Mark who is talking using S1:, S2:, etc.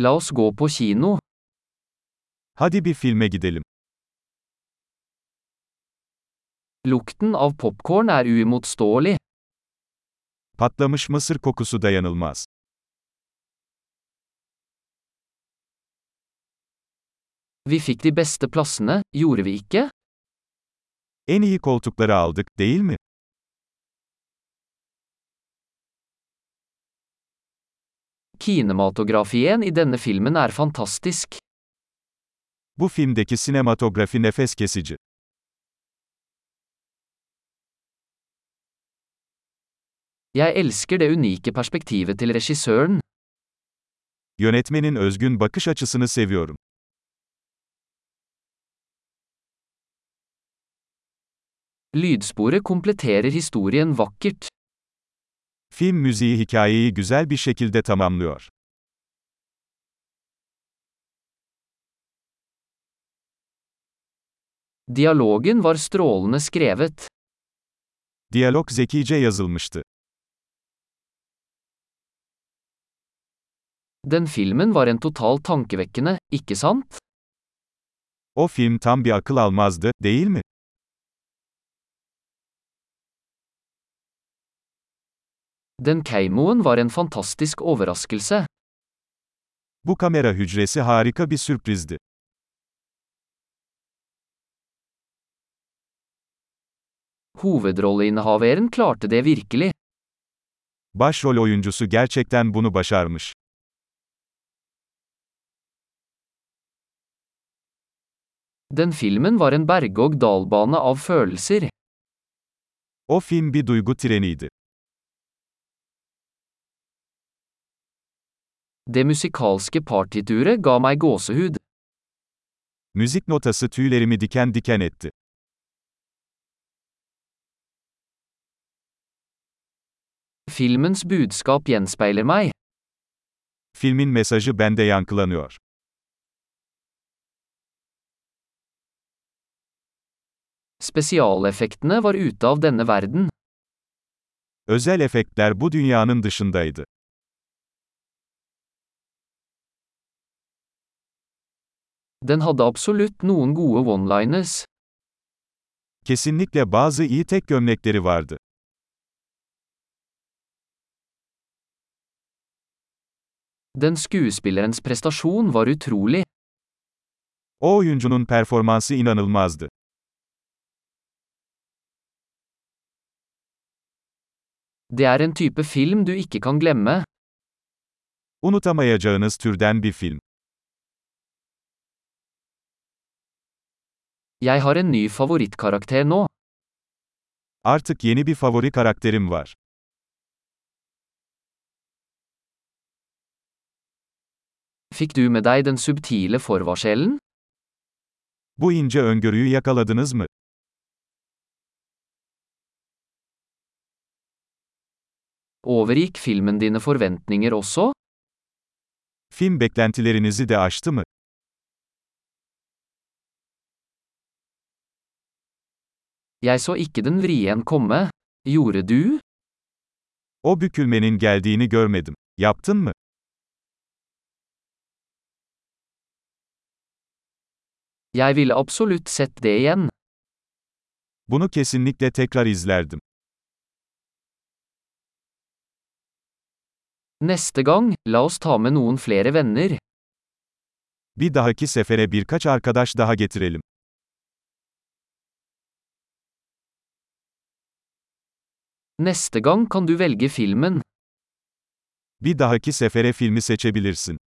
S1: La oss gå på kino.
S2: Hadi bir filme gidelim.
S1: Lukten av popkorn er uimotståelig.
S2: Patlamış mısır kokusu dayanılmaz.
S1: Vi fikk de beste plassene, gjorde vi ikke?
S2: En iyi koltukları aldık, değil mi?
S1: Kinematografien i denne filmen er fantastisk.
S2: Bu filmdeki sinematografi nefes kesici.
S1: Jeg elsker det unike perspektivet til regissøren.
S2: Yönetmenin özgün bakış açısını seviyorum.
S1: Lydsporet kompletterer historien vakkert.
S2: Film müziği hikayeyi güzel bir şekilde tamamlıyor.
S1: Dialogen var strålende skrevet.
S2: Diyalog zekice yazılmıştı.
S1: Den filmen var en totalt tankevekkende, ikke sant?
S2: O film tam bir akıl almazdı, değil mi?
S1: Den keimoen var en fantastisk overraskelse.
S2: Bu kamera hücresi harika bir sürprizdi.
S1: Hovedrolleinnehaveren klarte det virkelig.
S2: Başrol oyuncusu gerçekten bunu başarmış.
S1: Den filmen var en berg-og-dal-bane av følelser.
S2: O film bir duygu treniydi.
S1: Det musikalske partituret ga meg gåsehud.
S2: Müzik notası tüylerimi diken diken etti.
S1: Filmens budskap gjenspeiler meg.
S2: Filmin mesajı bende yankılanıyor.
S1: Spesialeffektene var ute av denne verden.
S2: Özel efektler bu dünyanın dışındaydı.
S1: Den hadde absolutt noen gode one-liners.
S2: Kesinlikle bazı iyi tek gömlekleri vardı.
S1: Den skuespillerens prestasjon var utrolig.
S2: O oyuncunun performansı inanılmazdı.
S1: Det er en type film du ikke kan glemme.
S2: Unutamayacağınız türden bir film.
S1: Jeg har en ny favorittkarakter nå.
S2: Artık yeni bir favori karakterim var.
S1: Fikk du med deg den subtile forvarselen?
S2: Bu ince öngörüyü yakaladınız mı?
S1: Overgikk filmen dine forventninger også?
S2: Film beklentilerinizi de aştı mı?
S1: Jeg så ikke den vrien komme. Gjorde du?
S2: O bükülmenin geldiğini görmedim. Yaptın mı?
S1: Jeg ville absolutt sett det igjen.
S2: Bunu kesinlikle tekrar izlerdim.
S1: Neste gang, la oss ta med noen flere venner.
S2: Bir dahaki sefere birkaç arkadaş daha getirelim.
S1: Neste gang kan du velge filmen.
S2: Bir dahaki sefere filmi seçebilirsin.